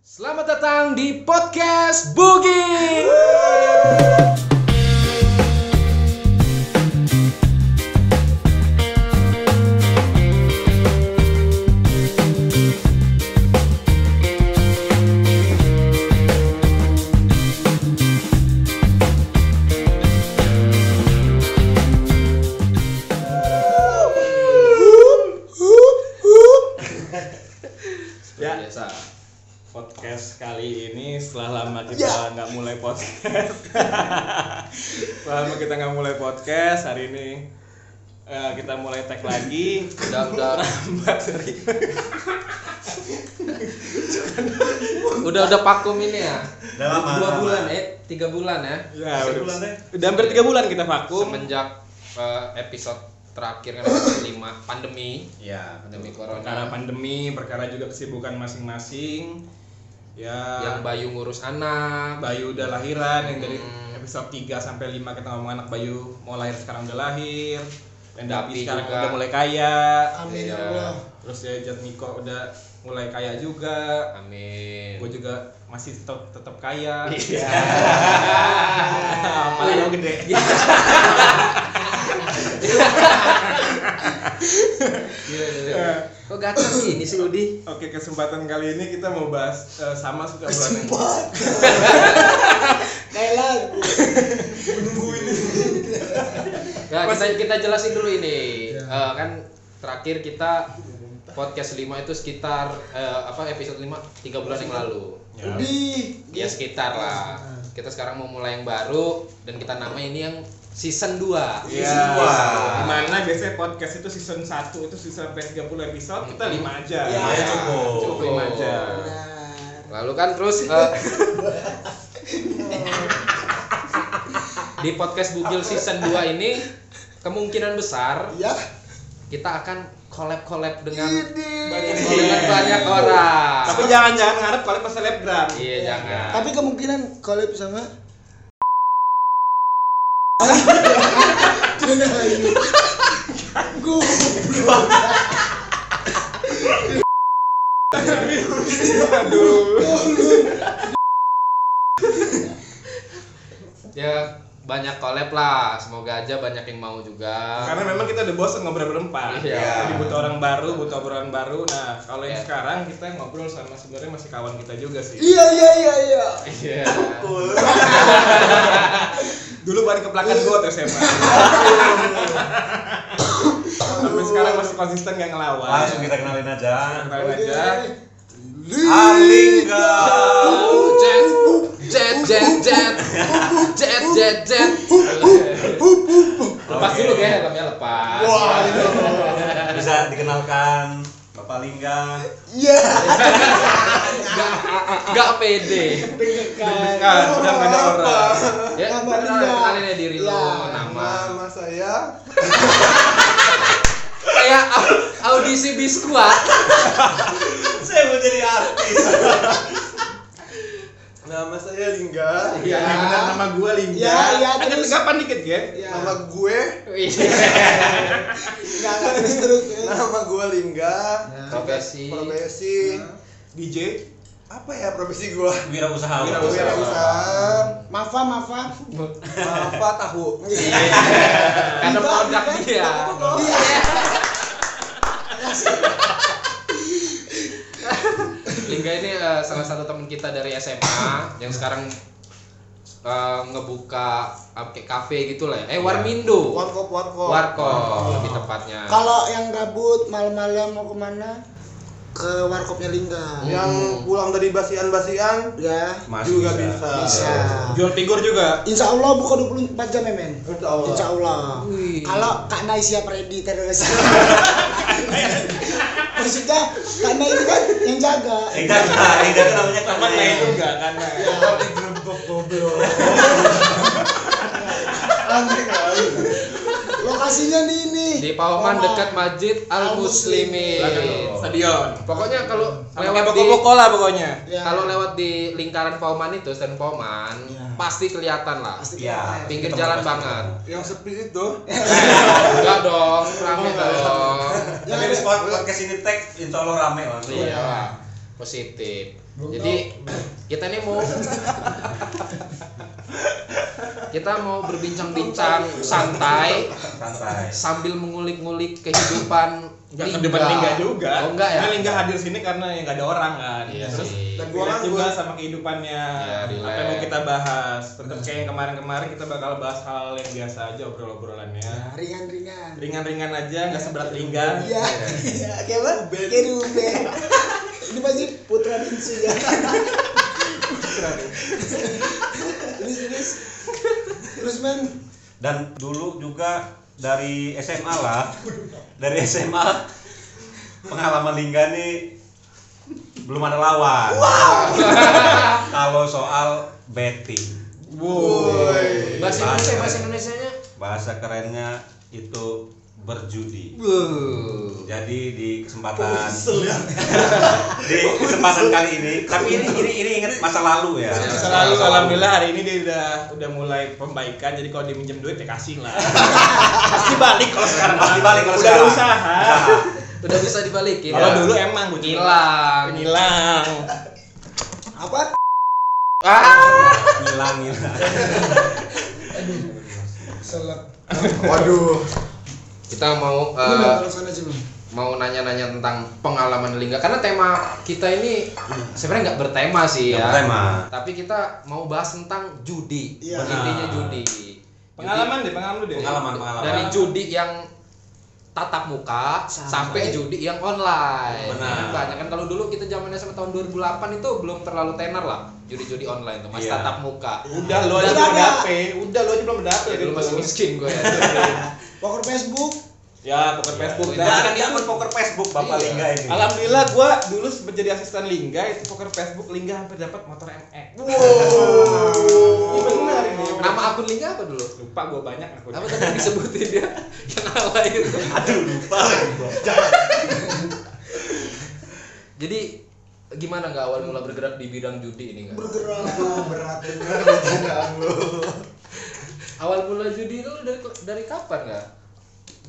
Selamat datang di podcast Boogie. Seperti Ya. biasa. podcast kali ini setelah lama Ya. kita nggak mulai podcast setelah lama kita nggak mulai podcast hari ini eh, kita mulai tag lagi Udah udah nambah dari udah udah vakum ini ya. Udah lama, Dua lama. bulan eh tiga bulan ya. ya Sebulan udah, deh. udah hampir tiga bulan kita vakum Semenjak eh, episode terakhir kan episode 5 pandemi Iya. pandemi perkara corona pandemi perkara juga kesibukan masing-masing ya yang Bayu ngurus anak Bayu udah lahiran yang dari Hmm. episode 3 sampai 5 kita ngomong anak Bayu mau lahir sekarang udah lahir dan Dapi Dapi sekarang juga. udah mulai kaya Amin Iya. ya Allah. terus ya Jatmiko udah mulai kaya juga amin gue juga masih tetap tetap kaya Wih. apalagi yang gede Iya, iya, iya. kok gatel sih ini sih Udi oke kesempatan kali ini kita mau bahas eh, sama suka bulan Kayak lagu. Ya, kita, kita jelasin dulu ini. Iya. Eh, kan terakhir kita podcast 5 itu sekitar eh, apa episode 5 3 bulan yang lalu. Di. Ya sekitar lah. Kita sekarang mau mulai yang baru dan kita nama ini yang season 2. Iya. Season dua. Dimana biasanya podcast itu season 1 itu season sampai 30 episode, kita 5 aja. Iya. Lumayan cukup. Cukup 5 aja. Benar. Lalu kan terus eh, di podcast Bugil season 2 ini kemungkinan besar Ya. kita akan collab-collab dengan Ini. Banyak- dengan banyak orang. Tapi jangan-jangan ngarep kalau pas selebgram. Iya, jangan. Tapi kemungkinan kalau sama Cina Ayu. Gue Aduh. ya banyak collab lah semoga aja banyak yang mau juga Karena memang kita udah bosen ngobrol berempat. Iya. Jadi butuh orang baru, butuh obrolan baru. Nah, kalau yang Iya. sekarang kita ngobrol sama sebenarnya masih kawan kita juga sih. Iya iya iya iya. iya Dulu baru ke belakang gue tuh SMA. Sampai sekarang masih konsisten gak ngelawan. Langsung ya. kita kenalin aja. Kenalin aja. Iya. Alika. jet jet jet jet jet jet jet lepas dulu Oke. kayaknya helmnya lepas Wah. itu. Bisa dikenalkan Bapak Lingga. Iya. nggak nggak pede Dekat, udah gak ada orang. ya Nama Linda. kenalin ya diri lo Ya, nama Nama saya kayak au- Ya, audisi biskuat Saya mau jadi artis. Nama saya Lingga. Iya, yang benar nama gue Linda. Iya, iya, Agak terus. tegapan dikit ya. Ya. Nama gue Enggak enggak terus terus. Nama gue Lingga, profesi profesi DJ. apa ya profesi gue? Wirausaha. Gue Wirausaha. usaha Mafa mafa. apa tahu. Iya, karena produk dia Iya. Lingga ini eh, salah satu teman kita dari SMA yang sekarang eh, ngebuka eh, kayak kafe gitu lah ya. Eh Warmindo. Warkop warkop. Warkop lebih tepatnya. Kalau yang gabut malam-malam mau kemana? Ke warkopnya Lingga. Ya. Yang Hmm. pulang dari basian-basian Ya. Masih juga bisa. bisa. Bisa. Jual figur juga. Insya Allah buka 24 jam ya men. Insya Allah. Insya Allah. Wih. Kalau Kak Nai siap ready teroris. Maksudnya Kak Nai itu kan yang jaga. Lingga, Lingga itu namanya Sama kayak Iya. juga kan. Tapi gerbok goblok. Aneh kali. Lokasinya di ini. Di Pawaman Pawaman. dekat Masjid Al Belakang Muslimin. dong. Stadion. Pokoknya kalau Sama kayak lewat di Iya. boko-boko lah pokoknya. Ya. kalau lewat di lingkaran Pawaman itu dan Pawaman Ya. pasti kelihatan lah. Pasti Iya. kelihatan. Pinggir Tempat jalan pasti banget. Yang sepi itu. Enggak dong, rame dong. Tapi di spot podcast ini tag, insya Allah rame lah. Iya. positif. Belum Jadi kita nih mau kita mau berbincang-bincang santai santai sambil mengulik-ngulik kehidupan Gak kedepan Lingga juga. Oh enggak ya? Karena Lingga hadir sini karena yang gak ada orang kan. Iya Terus sih. dan gua Relate nganggur. juga sama kehidupannya. Iya, Hmm. relate. apa yang mau kita bahas? Tetap kayak yang kemarin-kemarin kita bakal bahas hal yang biasa aja obrol-obrolannya. Iya. ringan-ringan. Ringan-ringan aja, nggak seberat Lingga. Iya, iya, kayak apa? Kayak Ruben. Ini pasti putra Ninsu ya. Terus terus terus men. dan dulu juga dari SMA lah dari SMA pengalaman Lingga nih belum ada lawan kalau soal betting Woi. Bahasa Indonesia, bahasa Indonesianya. bahasa kerennya itu berjudi jadi di kesempatan ya. di kesempatan kali ini tapi ini ini ini ingat masa lalu ya Iya. Selalu alhamdulillah hari ini dia udah udah mulai pembaikan. Jadi kalau dia minjem duit ya kasih lah. Pasti balik kalau sekarang. Pasti balik kalau udah sekarang. Udah usaha. Udah bisa dibalikin. Kalau ya? dulu emang gue hilang. Hilang. Apa? Ah. hilang hilang Selap. waduh Kita mau Lu eh, nggak sana sih, Bang? mau nanya-nanya tentang pengalaman Lingga karena tema kita ini sebenarnya nggak bertema sih ya. Nggak bertema. Tapi kita mau bahas tentang judi. Iya. Intinya judi. Ah. Pengalaman deh, pengalaman lu deh. pengalaman Judi- pengalaman dari judi yang tatap muka sampai judi yang online. Benar. Ya, Banyak kan kalau dulu kita zamannya sama tahun 2008 itu belum terlalu tenar lah judi-judi online tuh, masih Iya. tatap muka. Udah lo aja Udah belum ada. dapet, udah lo aja belum dapet Ya, dulu gitu. masih miskin gue ya. Poker Facebook. Ya, poker Facebook. itu dah. kan dia akun poker Facebook Bapak Iya. Lingga ini Alhamdulillah gua dulu sempat jadi asisten Lingga itu poker Facebook Lingga hampir dapat motor MX. Wow. Ini benar ini. Nama akun Lingga apa dulu? Lupa gua banyak aku. Apa tadi yang disebutin dia yang ala itu? aduh lupa Jadi gimana nggak awal mula bergerak di bidang judi ini nggak? Bergerak. berat bener pertanyaan lu Awal mula judi itu lu dari dari kapan nggak?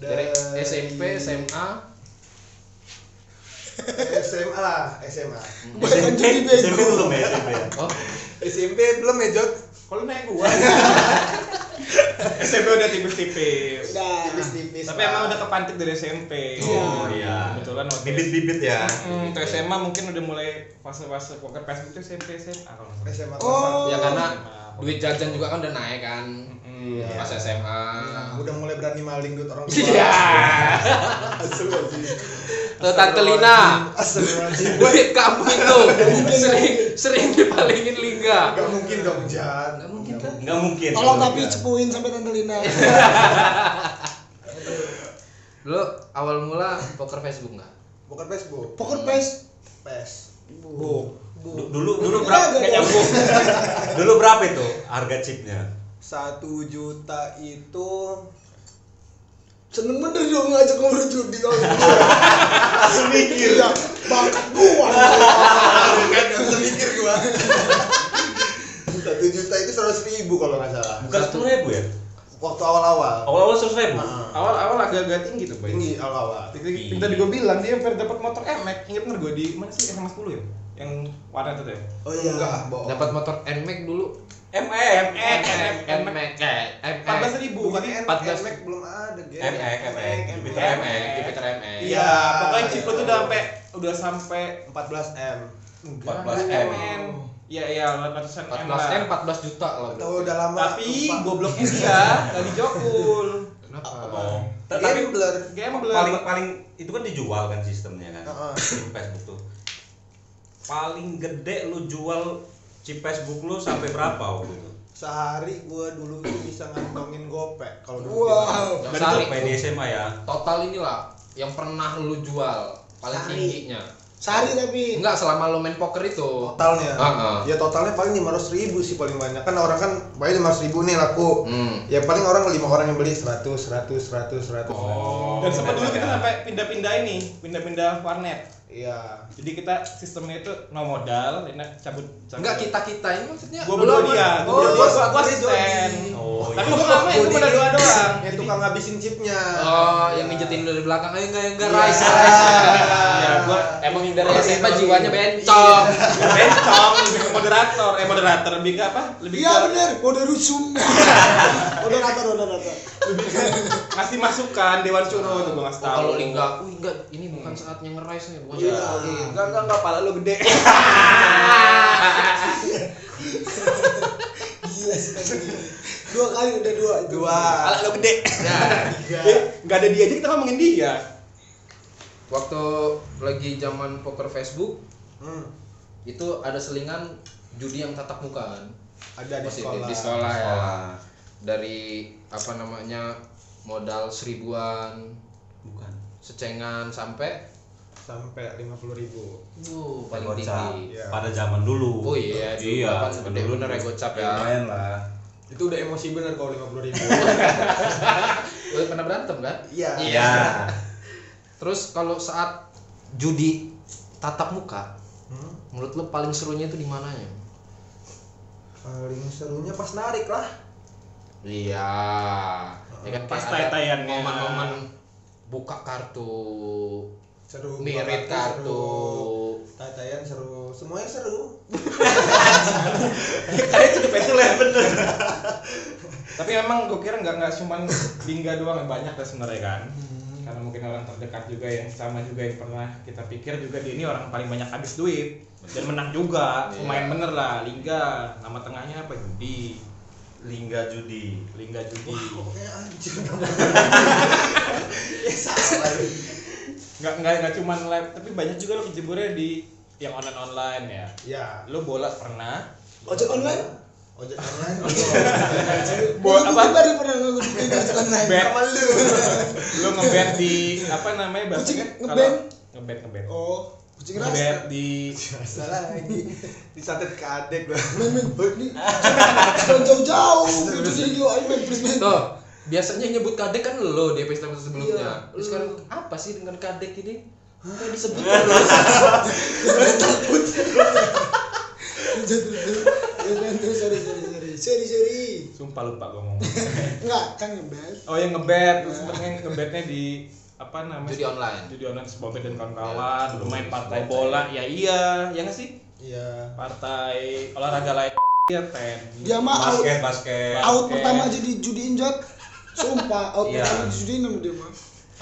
Dari, SMP, SMA, SMA lah SMA Kebanyakan judi SMP SMP bego. belum ya SMP Oh, ya? oh SMP belum ya Jod Kalau naik gua. SMP udah tipis-tipis. Udah tipis-tipis. Tapi emang udah kepantik dari SMP. Iya. Oh iya. Kebetulan waktu Bibit-bibit ya. Hmm, tuh SMA mungkin udah mulai fase-fase poker Facebook tuh SMP SMA kalau nggak salah. SMA Oh. ya karena duit jajan juga kan udah naik kan Hmm. pas SMA. kelas. Nah, udah mulai berani maling duit orang tua Iya. asal Tuh Tante Lina, asal duit kamu itu sering sering dipalingin Lingga. Gak mungkin dong Jan Nggak mungkin lah. Enggak mungkin. Tolong tapi cepuin sampai Tante Lina. Lu awal mula poker Facebook nggak? bukan Facebook Poker Face. pes Bu. Du- Bu. dulu dulu Nggak berapa ada nggak dong. nyambung. dulu berapa itu harga chipnya? satu juta itu Seneng bener dong ngajak ngobrol judi ya kalau Langsung mikir. Iya, bakat gua. kan harus mikir gua satu juta itu seratus ribu kalau nggak salah Bukan sepuluh ribu ya? waktu awal-awal Awal-awal seratus ribu. Ah, Awal-awal agak-agak tinggi tuh, Boy. ini awal-awal Tadi tadi gue bilang dia hampir dapat motor MX. Ingat nggak gue di mana sih SMA 10 ya? Yang warna itu ya? oh iya enggak bohong Dapat motor NMAX dulu. MX, MX, MX. NMAX. eh, NMAX. 14 ribu kan bukannya Empat. ya, MX belum ada geng MX, MX, Jupiter MX MX. Jupiter MX. Iya, pokoknya chip lo tuh udah sampai udah sampai 14 M 14M. Iya, iya, ratusan M 14 M lah. 14 eh, juta loh. atau udah lama Tapi lupa. gobloknya dia dari Jokul. Kenapa? Oh. Ta- Tapi gambler Gambler. paling paling itu kan dijual kan sistemnya kan. Heeh. Chip Facebook tuh. Paling gede lu jual chip Facebook lu sampai berapa waktu itu? sehari gua dulu tuh bisa ngantongin gopek kalau dulu Wow. Yang sehari Dan Kan itu sampai di SMA ya. total inilah yang pernah lu jual paling Sehari. tingginya. Sehari tapi. Enggak selama lu main poker itu. totalnya Heeh. ya totalnya paling 500 ribu sih paling banyak kan orang kan bayar 500 ribu nih laku Hmm. ya paling orang lima orang yang beli 100 100 100 100 Oh. Oh. ya. Dan sempat dulu kita sampai pindah-pindah ini, pindah-pindah warnet. Iya. Jadi kita sistemnya itu no modal, enak cabut. cabut. Enggak kita kita ini maksudnya. kan- Gua berdua dia, Oh, gua berdua gua, gua dia asisten. Jody. Oh, Tapi gua ya. nggak main, gua berdua Ya, doang. Yang Jadi- tukang ngabisin chipnya. Oh, yang ngejetin dari belakang ayo enggak enggak Iya. rice. rice. Ya, Iya, gua Emang yang dari Iya. SMA jiwanya bencong. bencong lebih ke moderator, eh moderator lebih ke apa? Lebih Iya ke bener, udah rusuh. Udah rata, udah rata. ngasih masukan Dewan Suro tuh gua ngasih Oh, tahu. kalau li enggak, wih enggak ini bukan saatnya nge-rice nih, bukan Iya. saatnya. Enggak enggak enggak pala lu gede. Iya. Gila sih tadi. Dua kali udah dua itu. Dua. Ala lo gede. Tiga. Ya, Nggak ada dia aja kita ngomongin dia. Waktu lagi zaman poker Facebook Hmm. itu ada selingan judi yang tatap muka kan. Ada di Masih sekolah. di sekolah ya. sekolah. Dari apa namanya modal seribuan Bukan. secengan sampai Sampai 50 ribu. wuh paling Gocap. tinggi. Iya. Pada zaman dulu. Oh iya, dulu iya. kapan gede bener ya gocap ya. Lumayan lah. Itu udah emosi bener kalau 50 ribu. Lu pernah berantem kan? Iya. Iya. Terus kalau saat judi tatap muka, Hmm. menurut lo paling serunya itu di mananya? Paling serunya pas narik lah. Iya. Ya kan Pas kayak ada tai-taiannya. Momen-momen buka kartu, Seru. mirip buka kartu. seru, Tatayan seru. Semuanya seru. Kayaknya cukup itu lah bener. Tapi emang gue kira nggak nggak cuman Lingga doang yang banyak lah sebenarnya kan. Karena mungkin orang terdekat juga yang sama juga yang pernah kita pikir juga dia ini orang paling banyak habis duit dan menang juga. Iya. Pemain bener lah Lingga. Nama tengahnya apa? Judi. Lingga judi. Lingga Judi. Pokoknya anjir. ya salah. Nggak nggak nggak cuman live, tapi banyak juga lo kejeburnya di yang online online ya. Ya. Lo bola pernah. Ojek online? Ojek online. Buat Gua apa? baru pernah ngebukin ojek online. Bet. Sama lu. Lo ngebet di apa namanya bahasanya? Kucing Kalau- ngeband? Ngebet ngebet. Oh, kucing Ngebet rasta. di Salah lagi. Disantet ke adek lah. Main-main bet nih. Jangan jauh-jauh. Gitu sih yo, ayo main please main. Tuh, biasanya yang nyebut kadek kan lo di episode sebelumnya. Iya, Terus lo. sekarang apa sih dengan kadek ini? Apa yang disebut lo? Iya. Ya kan, terus sorry sorry sorry. Sorry sorry. Sumpah lupa gue ngomong. Enggak, kan ngebet. Oh yang ngebet, sebenarnya ngebetnya di apa namanya? Judi online. Iya. Judi online Sepompet dan kawan-kawan, bermain partai bola, ya iya, ya nggak sih? Iya. Partai olahraga lain, ya tenis. Dia mah out, Basket, basket. basket. out pertama aja dijudiin jod. Sumpah, out Iya. pertama dijudiin sama dia mah.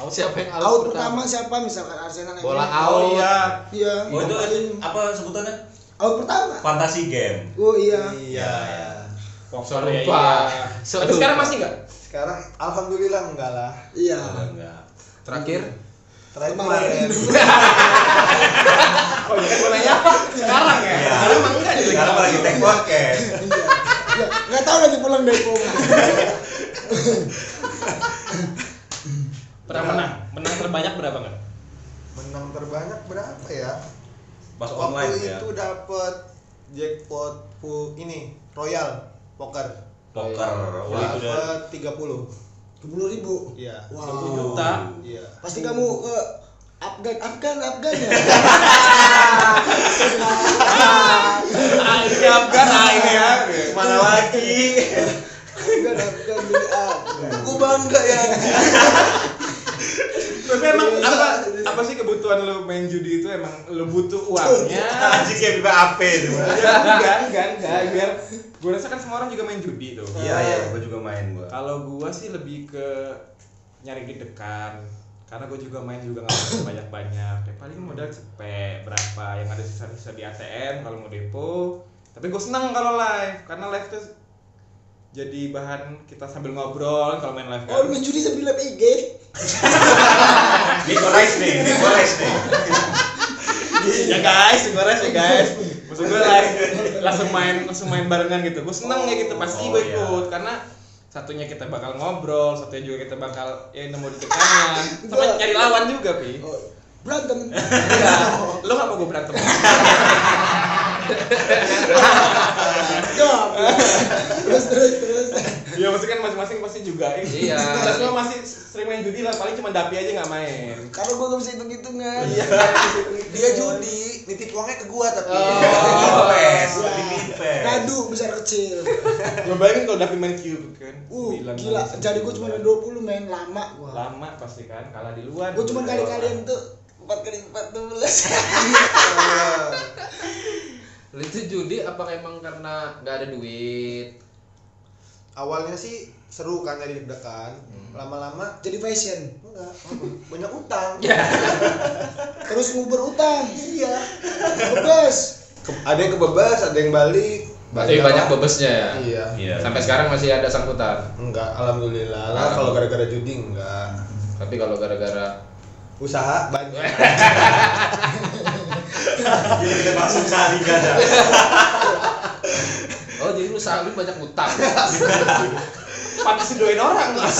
Siapa yang out, Out pertama siapa misalkan Arsenal yang Bola ini. out. Oh iya. Iya. Oh itu Paling- apa sebutannya? out pertama. Fantasi game. Oh iya. Iya. Boxer ya Serupa. iya. Serupa. sekarang masih nggak? Sekarang alhamdulillah enggak lah. Iya. Oh, enggak. Terakhir. Terakhir Kemarin. kemarin. Oh iya, gue nanya apa? Sekarang ya? Iya. Sekarang emang enggak gitu. nih. Sekarang lagi tag podcast. Iya. Ya, Nggak tahu lagi pulang dari Pomo. Pernah menang? Menang terbanyak berapa nggak? Menang terbanyak berapa ya? Pas Waktu online ya. itu dapat jackpot pu ini Royal Poker. Poker. Wah, itu udah Dapat 30. Sepuluh ribu. Iya. Wow. juta. Iya. Pasti kamu ke Afgan, Afgan, Afgan ya. Ah, ini Afgan, ah ini ya. Mana lagi? Afgan, Afgan Ah. jadi Afgan. Aku bangga ya. Tapi emang apa apa sih kebutuhan lo main judi itu emang lo butuh uangnya Iya, Anjing kayak di BAP itu. enggak enggak enggak biar gue rasa kan semua orang juga main judi tuh Iya, iya, gua juga main gua. kalau gue sih lebih ke nyari dedekan karena gue juga main juga nggak banyak banyak ya paling modal cepet berapa yang ada sisa-sisa di ATM kalau mau depo tapi gue seneng kalau live karena live tuh jadi bahan kita sambil ngobrol kalau main live Oh, kan mencuri sambil live IG. Digores Ah, nih, digores nih. ya guys digores ya guys maksud gue live langsung main langsung main barengan gitu gue seneng ya gitu pasti Oh, gue iya. ikut karena satunya kita bakal ngobrol satunya juga kita bakal ya nemu di tekanan sama Gua- nyari lawan juga pi Oh, berantem. iya lo gak mau gue berantem Ya. Terus terus terus. ya pasti kan masing-masing pasti juga Iya. kita semua masih sering main judi lah paling cuma dapi aja nggak main Karena gue gak bisa hitung hitungan. Dia judi, nitip uangnya ke gua tapi. Oh. Dipes, dipes. Nadu besar kecil. Gua bayangin kalau Davi main cube kan. Uh, Bilang gila. kali Jadi gue cuma sebulan. 20 main lama gua. lama pasti kan kalah di luar. Gue cuma Dua kali-kalian orang. tuh 4 kali 14. Lu itu judi apa emang karena nggak ada duit? Awalnya sih seru kan jadi deg-degan. Lama-lama Jadi fashion. enggak. Banyak utang. Terus nguber utang. Iya. Bebas. Ke- ada yang kebebas, ada yang balik. Tapi banyak bebesnya ya. Iya. Iya. Sampai sekarang masih ada sangkutan. Enggak, alhamdulillah Alhamdulillah. lah kalau gara-gara judi enggak. Tapi kalau gara-gara Usaha banyak. Jadi kita masuk sehari gak ada. Oh jadi lu saham lu banyak utang. Pantes doain orang lah.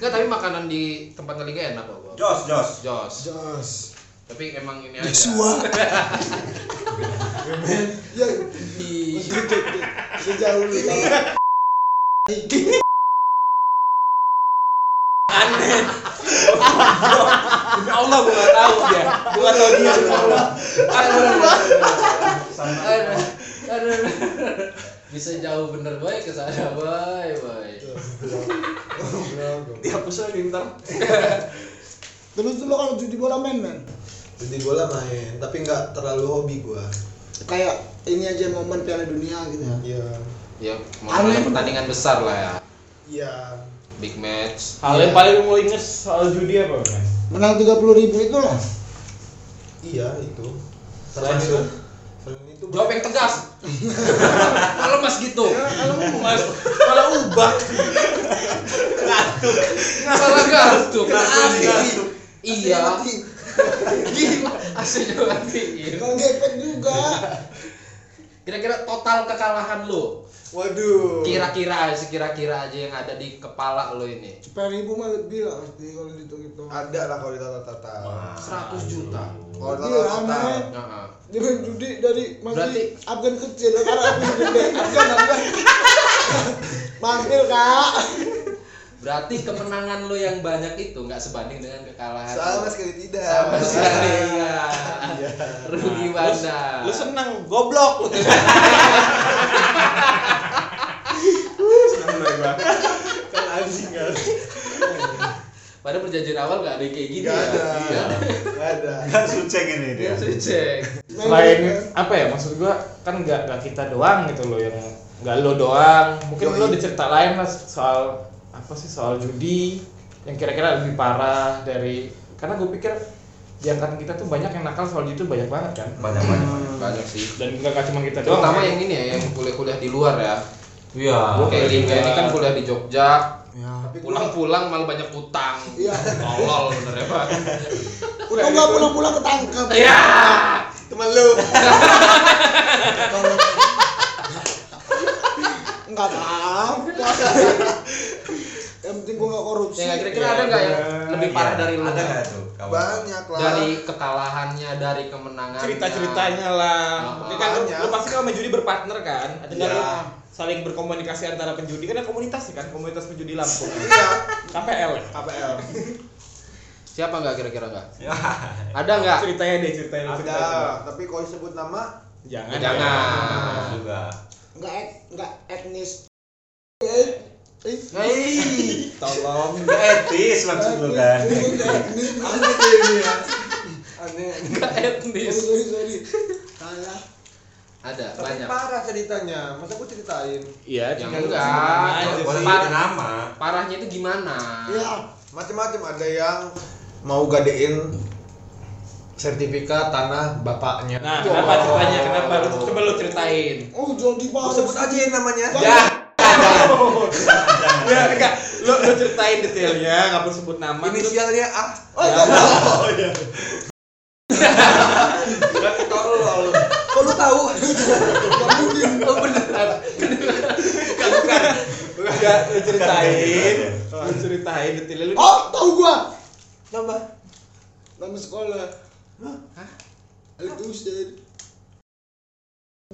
Enggak tapi makanan di tempat ngeliga enak kok. Bang. Jos, jos. Jos. Jos. Tapi emang ini aja. Joshua. Ya, Di- gitu, sejauh ini. Demi Ya Allah gua nggak tahu dia. Gua nggak tahu dia. demi Allah. Aduh. Aduh. Bisa jauh bener baik ke sana, baik baik. Dihapus aja ntar. Terus lu kalau judi bola main, men? Judi bola main, tapi enggak terlalu hobi gua. Kayak ini aja momen Piala Dunia gitu ya. Iya. Ya, mau ada Aneh. pertandingan besar lah ya. Iya. Big match. Iya. Hal yang paling mau inget soal judi apa mas? Menang 30 ribu itu lah. Iya itu. Selain itu? Selain itu Jawab yang tegas. Kalau mas gitu. Mas, kalau ubah. Salah kartu. Asli. Ngantuk. Iya. Mati. Gila. Asli juga matiin. Kalau ngepet juga. Kira-kira total kekalahan lu. Waduh. Kira-kira aja, kira-kira aja yang ada di kepala lu ini. 10 ribu mah lebih lah pasti kalau dihitung-hitung. Ada lah kalau ditata-tata. 100 juta. Kalau Gila, ditata-tata. men. Heeh. Dia main judi dari masih Berarti- Afgan kecil, sekarang Afgan gede, Afgan Afgan. Manggil kak. Berarti kemenangan lo yang banyak itu nggak sebanding dengan kekalahan. Sama lo. sekali tidak. Sama sekali. Iya. Iya. Rugi Nah, lu- bandar. Lu seneng goblok. Senang dari gua. Kan anjing kan. Pada perjanjian awal nggak ada yang kayak gini Enggak ya. ada. Enggak ada. Gak suceng ini Kan dia. Iya. Saya cek. Main Selain judi, apa ya maksud gua kan nggak nggak kita doang gitu loh yang nggak lo doang. Mungkin Yoi. lo dicerita lain lah soal apa sih soal judi yang kira-kira lebih parah dari karena gue pikir di angkatan kita tuh banyak yang nakal soal judi tuh banyak banget kan Banyak banyak. Banyak sih. dan nggak cuma kita doang Terutama kan. yang ini ya, yang kuliah-kuliah di luar ya. Iya. Oke, kuliah di Lingga ini luar. kan kuliah di Jogja. Tapi gua- Pulang-pulang malah banyak utang. Iya. Tolol bener ya, Pak. kan. Untung nggak pulang-pulang ketangkep. Iya. teman lu. Enggak tahu. Yang penting gua nggak korupsi. Ya, kira-kira ada nggak yang lebih parah dari lu? Iya. Ada nggak tuh? kawan? Banyak lah. Dari kekalahannya, dari kemenangannya. cerita-ceritanya lah. Oh, Ini kan lu, banyak. lu pasti kalau main judi berpartner kan. Ada nggak Iya. lu saling berkomunikasi antara penjudi kan ada komunitas ya kan, komunitas penjudi Lampung. Iya. KPL. ya? KPL. Siapa nggak kira-kira nggak? Ya. Ada nggak? Ceritanya deh, ceritanya deh, Ada, ceritanya. tapi kalau disebut nama Jangan. Jangan. Juga. Enggak et, enggak etnis. Eh, eh. Hei, Tolong. Nggak etis maksud lu kan. Etnis, aneh tuh ini ya. Aneh. nggak Sorry, etnis. sorry, sorry. Salah. Ada Tapi banyak. parah ceritanya. Masa gua ceritain? Iya, Yang tinggal lu enggak. kesana aja Boleh. Boleh sih. ada nama. Parahnya itu gimana? Ya, Macam-macam Iya. ada yang mau gadein sertifikat tanah bapaknya. Nah, kenapa ceritanya? Kenapa lu coba lu ceritain? oh jangan Gua dibahas. sebut aja ya namanya. Ya. Ya, enggak. Lu, lu ceritain detailnya, enggak perlu sebut nama. Lu- Inisialnya A. Iya. Oh, iya. jangan. Berarti tolol lu. Kok lu tahu? Oh beneran. Enggak, lu ceritain. Lu ceritain detailnya lu. Oh, tahu gua. Nama. Nama sekolah. Hah? Al Husain.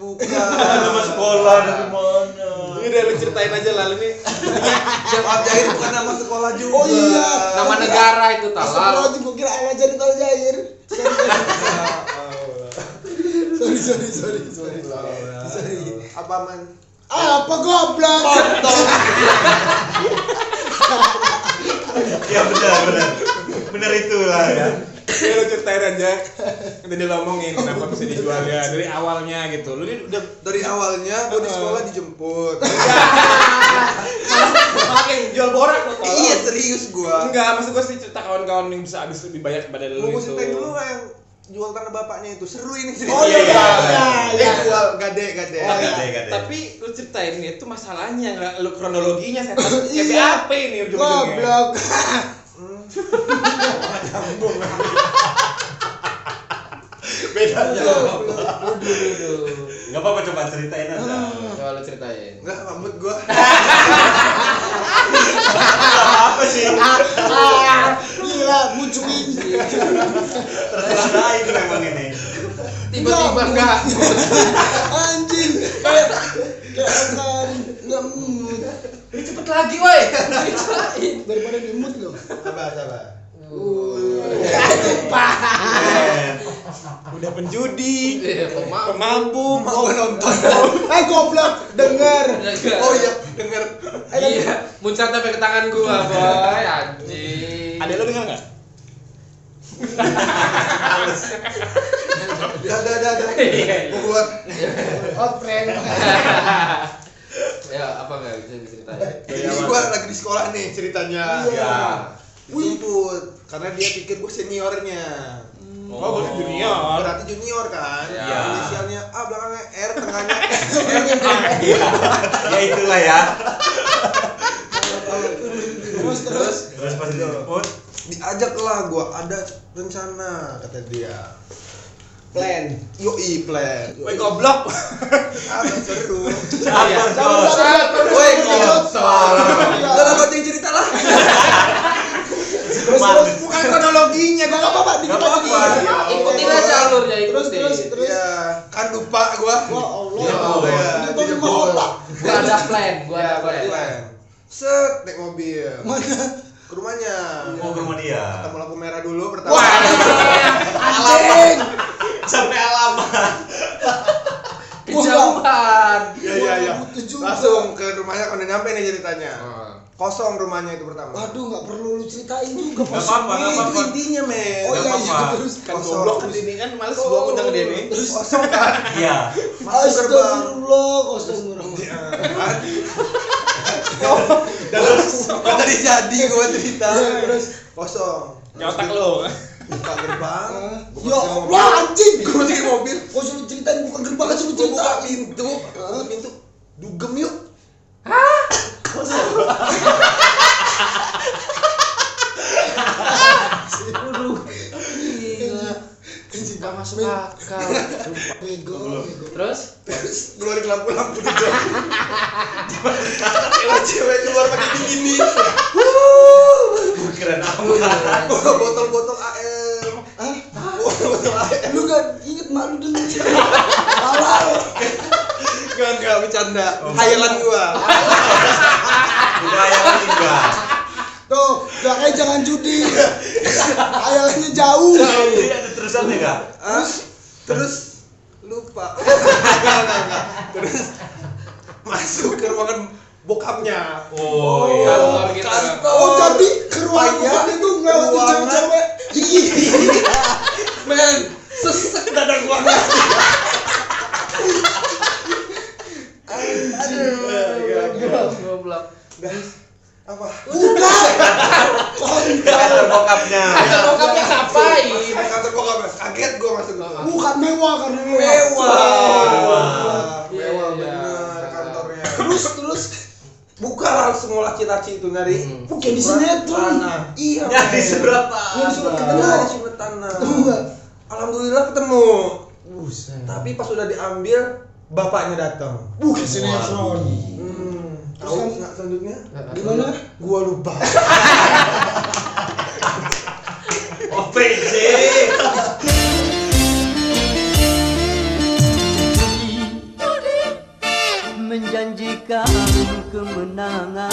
Bukan. Nama sekolah dari mana? udah lu ceritain aja lalu nih Siapa jahit bukan nama sekolah juga. Oh iya. Nama negara itu talal. Astagfirullahaladzim, gue kira ayah jadi tol jair. Sorry, sorry, sorry, sorry. Sorry. Apa man? Apa goblok? Iya benar benar. Benar itulah ya. Udah Iya, lu ceritain aja udah dia ngomongin kenapa bisa dijualnya dari awalnya gitu lu ini udah Dari awalnya gue di sekolah dijemput. pakai jual borak lo tau iya serius gua. enggak maksud gua sih cerita kawan-kawan yang bisa habis lebih banyak daripada lu gitu. Mau gue itu ceritain dulu nggak yang jual tanah bapaknya itu seru ini cerita. Oh iya, iya, Eh iya. jual gade gade. Oh, Gak ada, iya. gak ada. tapi lu ceritain itu masalahnya nggak lu kronologinya saya Iya. kayak apa ini ujung-ujungnya Goblok. Beda aja. Aduh, aduh, aduh. Enggak apa-apa coba ceritain aja. Coba lu ceritain. Enggak rambut gua. Apa sih? Ah, Gila, muncul ini. Terserah Dain memang ini. Tiba-tiba enggak. Anjing. Kayak kayak akan nggak mood Ini cepet lagi, woi. Ceritain. daripada di mood loh. Sabar sabar. udah penjudi Iya, pemabuk. pemabuk Mau gua nonton. Eh goblok, denger. Oh iya denger. Iya, muncat sampai ke tangan gua, boy. Anjing. ada lu dengar nggak Dah dah dah dah. Iya, iya. Gua keluar. Oh, friend. Ya, apa enggak bisa diceritain? Jadi gua lagi di sekolah nih ceritanya. Iya. Dijemput karena dia pikir gua seniornya. oh berarti junior Berarti junior kan? Iya. Inisialnya A belakangnya R tengahnya Ya itulah ya. Terus terus. Terus pas dijemput diajak lah gua ada rencana kata dia Plan. yoi plan Woi goblok. apa seru Oh, Iya. Sabar, sabar, sabar. Woi, Terus, Gak ada baca yang cerita lah Terus terus. bukan kronologinya Gak apa-apa, dikit lagi. apa-apa. Iya, Ikutin aja alurnya, iya, Terus ikutin. terus terus. ya kan lupa gua Wah Allah. Ya Allah. Ini baru Dijebol. mau otak. Gua ada plan, gua ada plan. Iya, plan set naik mobil Mana? ke rumahnya mau ke rumah dia. ketemu lampu merah dulu pertama Wah, Anjing. Sampai alamat. kejauhan. Iya, ya ya ya 2007. langsung ke rumahnya kalau udah nyampe nih ceritanya kosong rumahnya itu pertama Waduh, nggak perlu lu ceritain juga. Gak Bos. apa-apa, Ini gak itu apa-apa. intinya men Oh Gak iya iya apa-apa. terus. Kan Kosong. goblok kan ini kan males gua ngundang ke dia nih. Terus kosong kan Iya. masuk gerbang astagfirullah, astagfirullah. dalam kok Kan tadi jadi gua cerita Iya, terus. kosong Nyotak lu. buka gerbang buka Ya gerbang Allah anjing. mobil. gua di mobil Kok suruh ceritain bukan gerbang kan suruh gua cerita. buka pintu buka pintu Eh. dugem yuk Aduh. Gila. Gak masuk akal. Bego. bego. Terus? terus keluarin lampu-lampu di jalan cewek-cewek keluar pakai bikini Keren apa? bawa botol-botol AM Hah? bawa botol AM Lu gak inget malu dulu. Salah. enggak enggak bercanda hayalan gua Udah yang ketiga. Tuh, gak kayak jangan judi. Hayalannya jauh. Jadi Iya, ada ya, terusannya enggak? Hah? terus lupa enggak enggak enggak terus masuk ke ruangan bokapnya Oh iya. Kantor kita. Oh, jadi ke ruangan Iya. bukan itu ngelewatin Ruangan. cewek-cewek. men sesek dadang ruangan Goblok, goblok. apa Udah. Kantor bokapnya. Bokapnya ngapain? Sampai kantor bokapnya kaget gua masuk Bukan mewah karena mewah Iya, mewah iya. bener kantornya Terus terus buka langsung lah cita-cita itu nyari Hmm. bukan di sinetron. tanah iya Ya di men. surat Yang surat ketemu ketemu. ada surat tanah Ketemu nggak? alhamdulillah ketemu Buset. tapi pas sudah diambil bapaknya datang Bukan sinetron. hmm. Terus tahu kan- nggak selanjutnya Gimana? gua lupa Oh, OPJ. menjanjikan kemenangan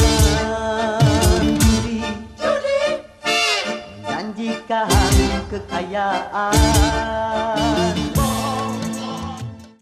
judi menjanjikan kekayaan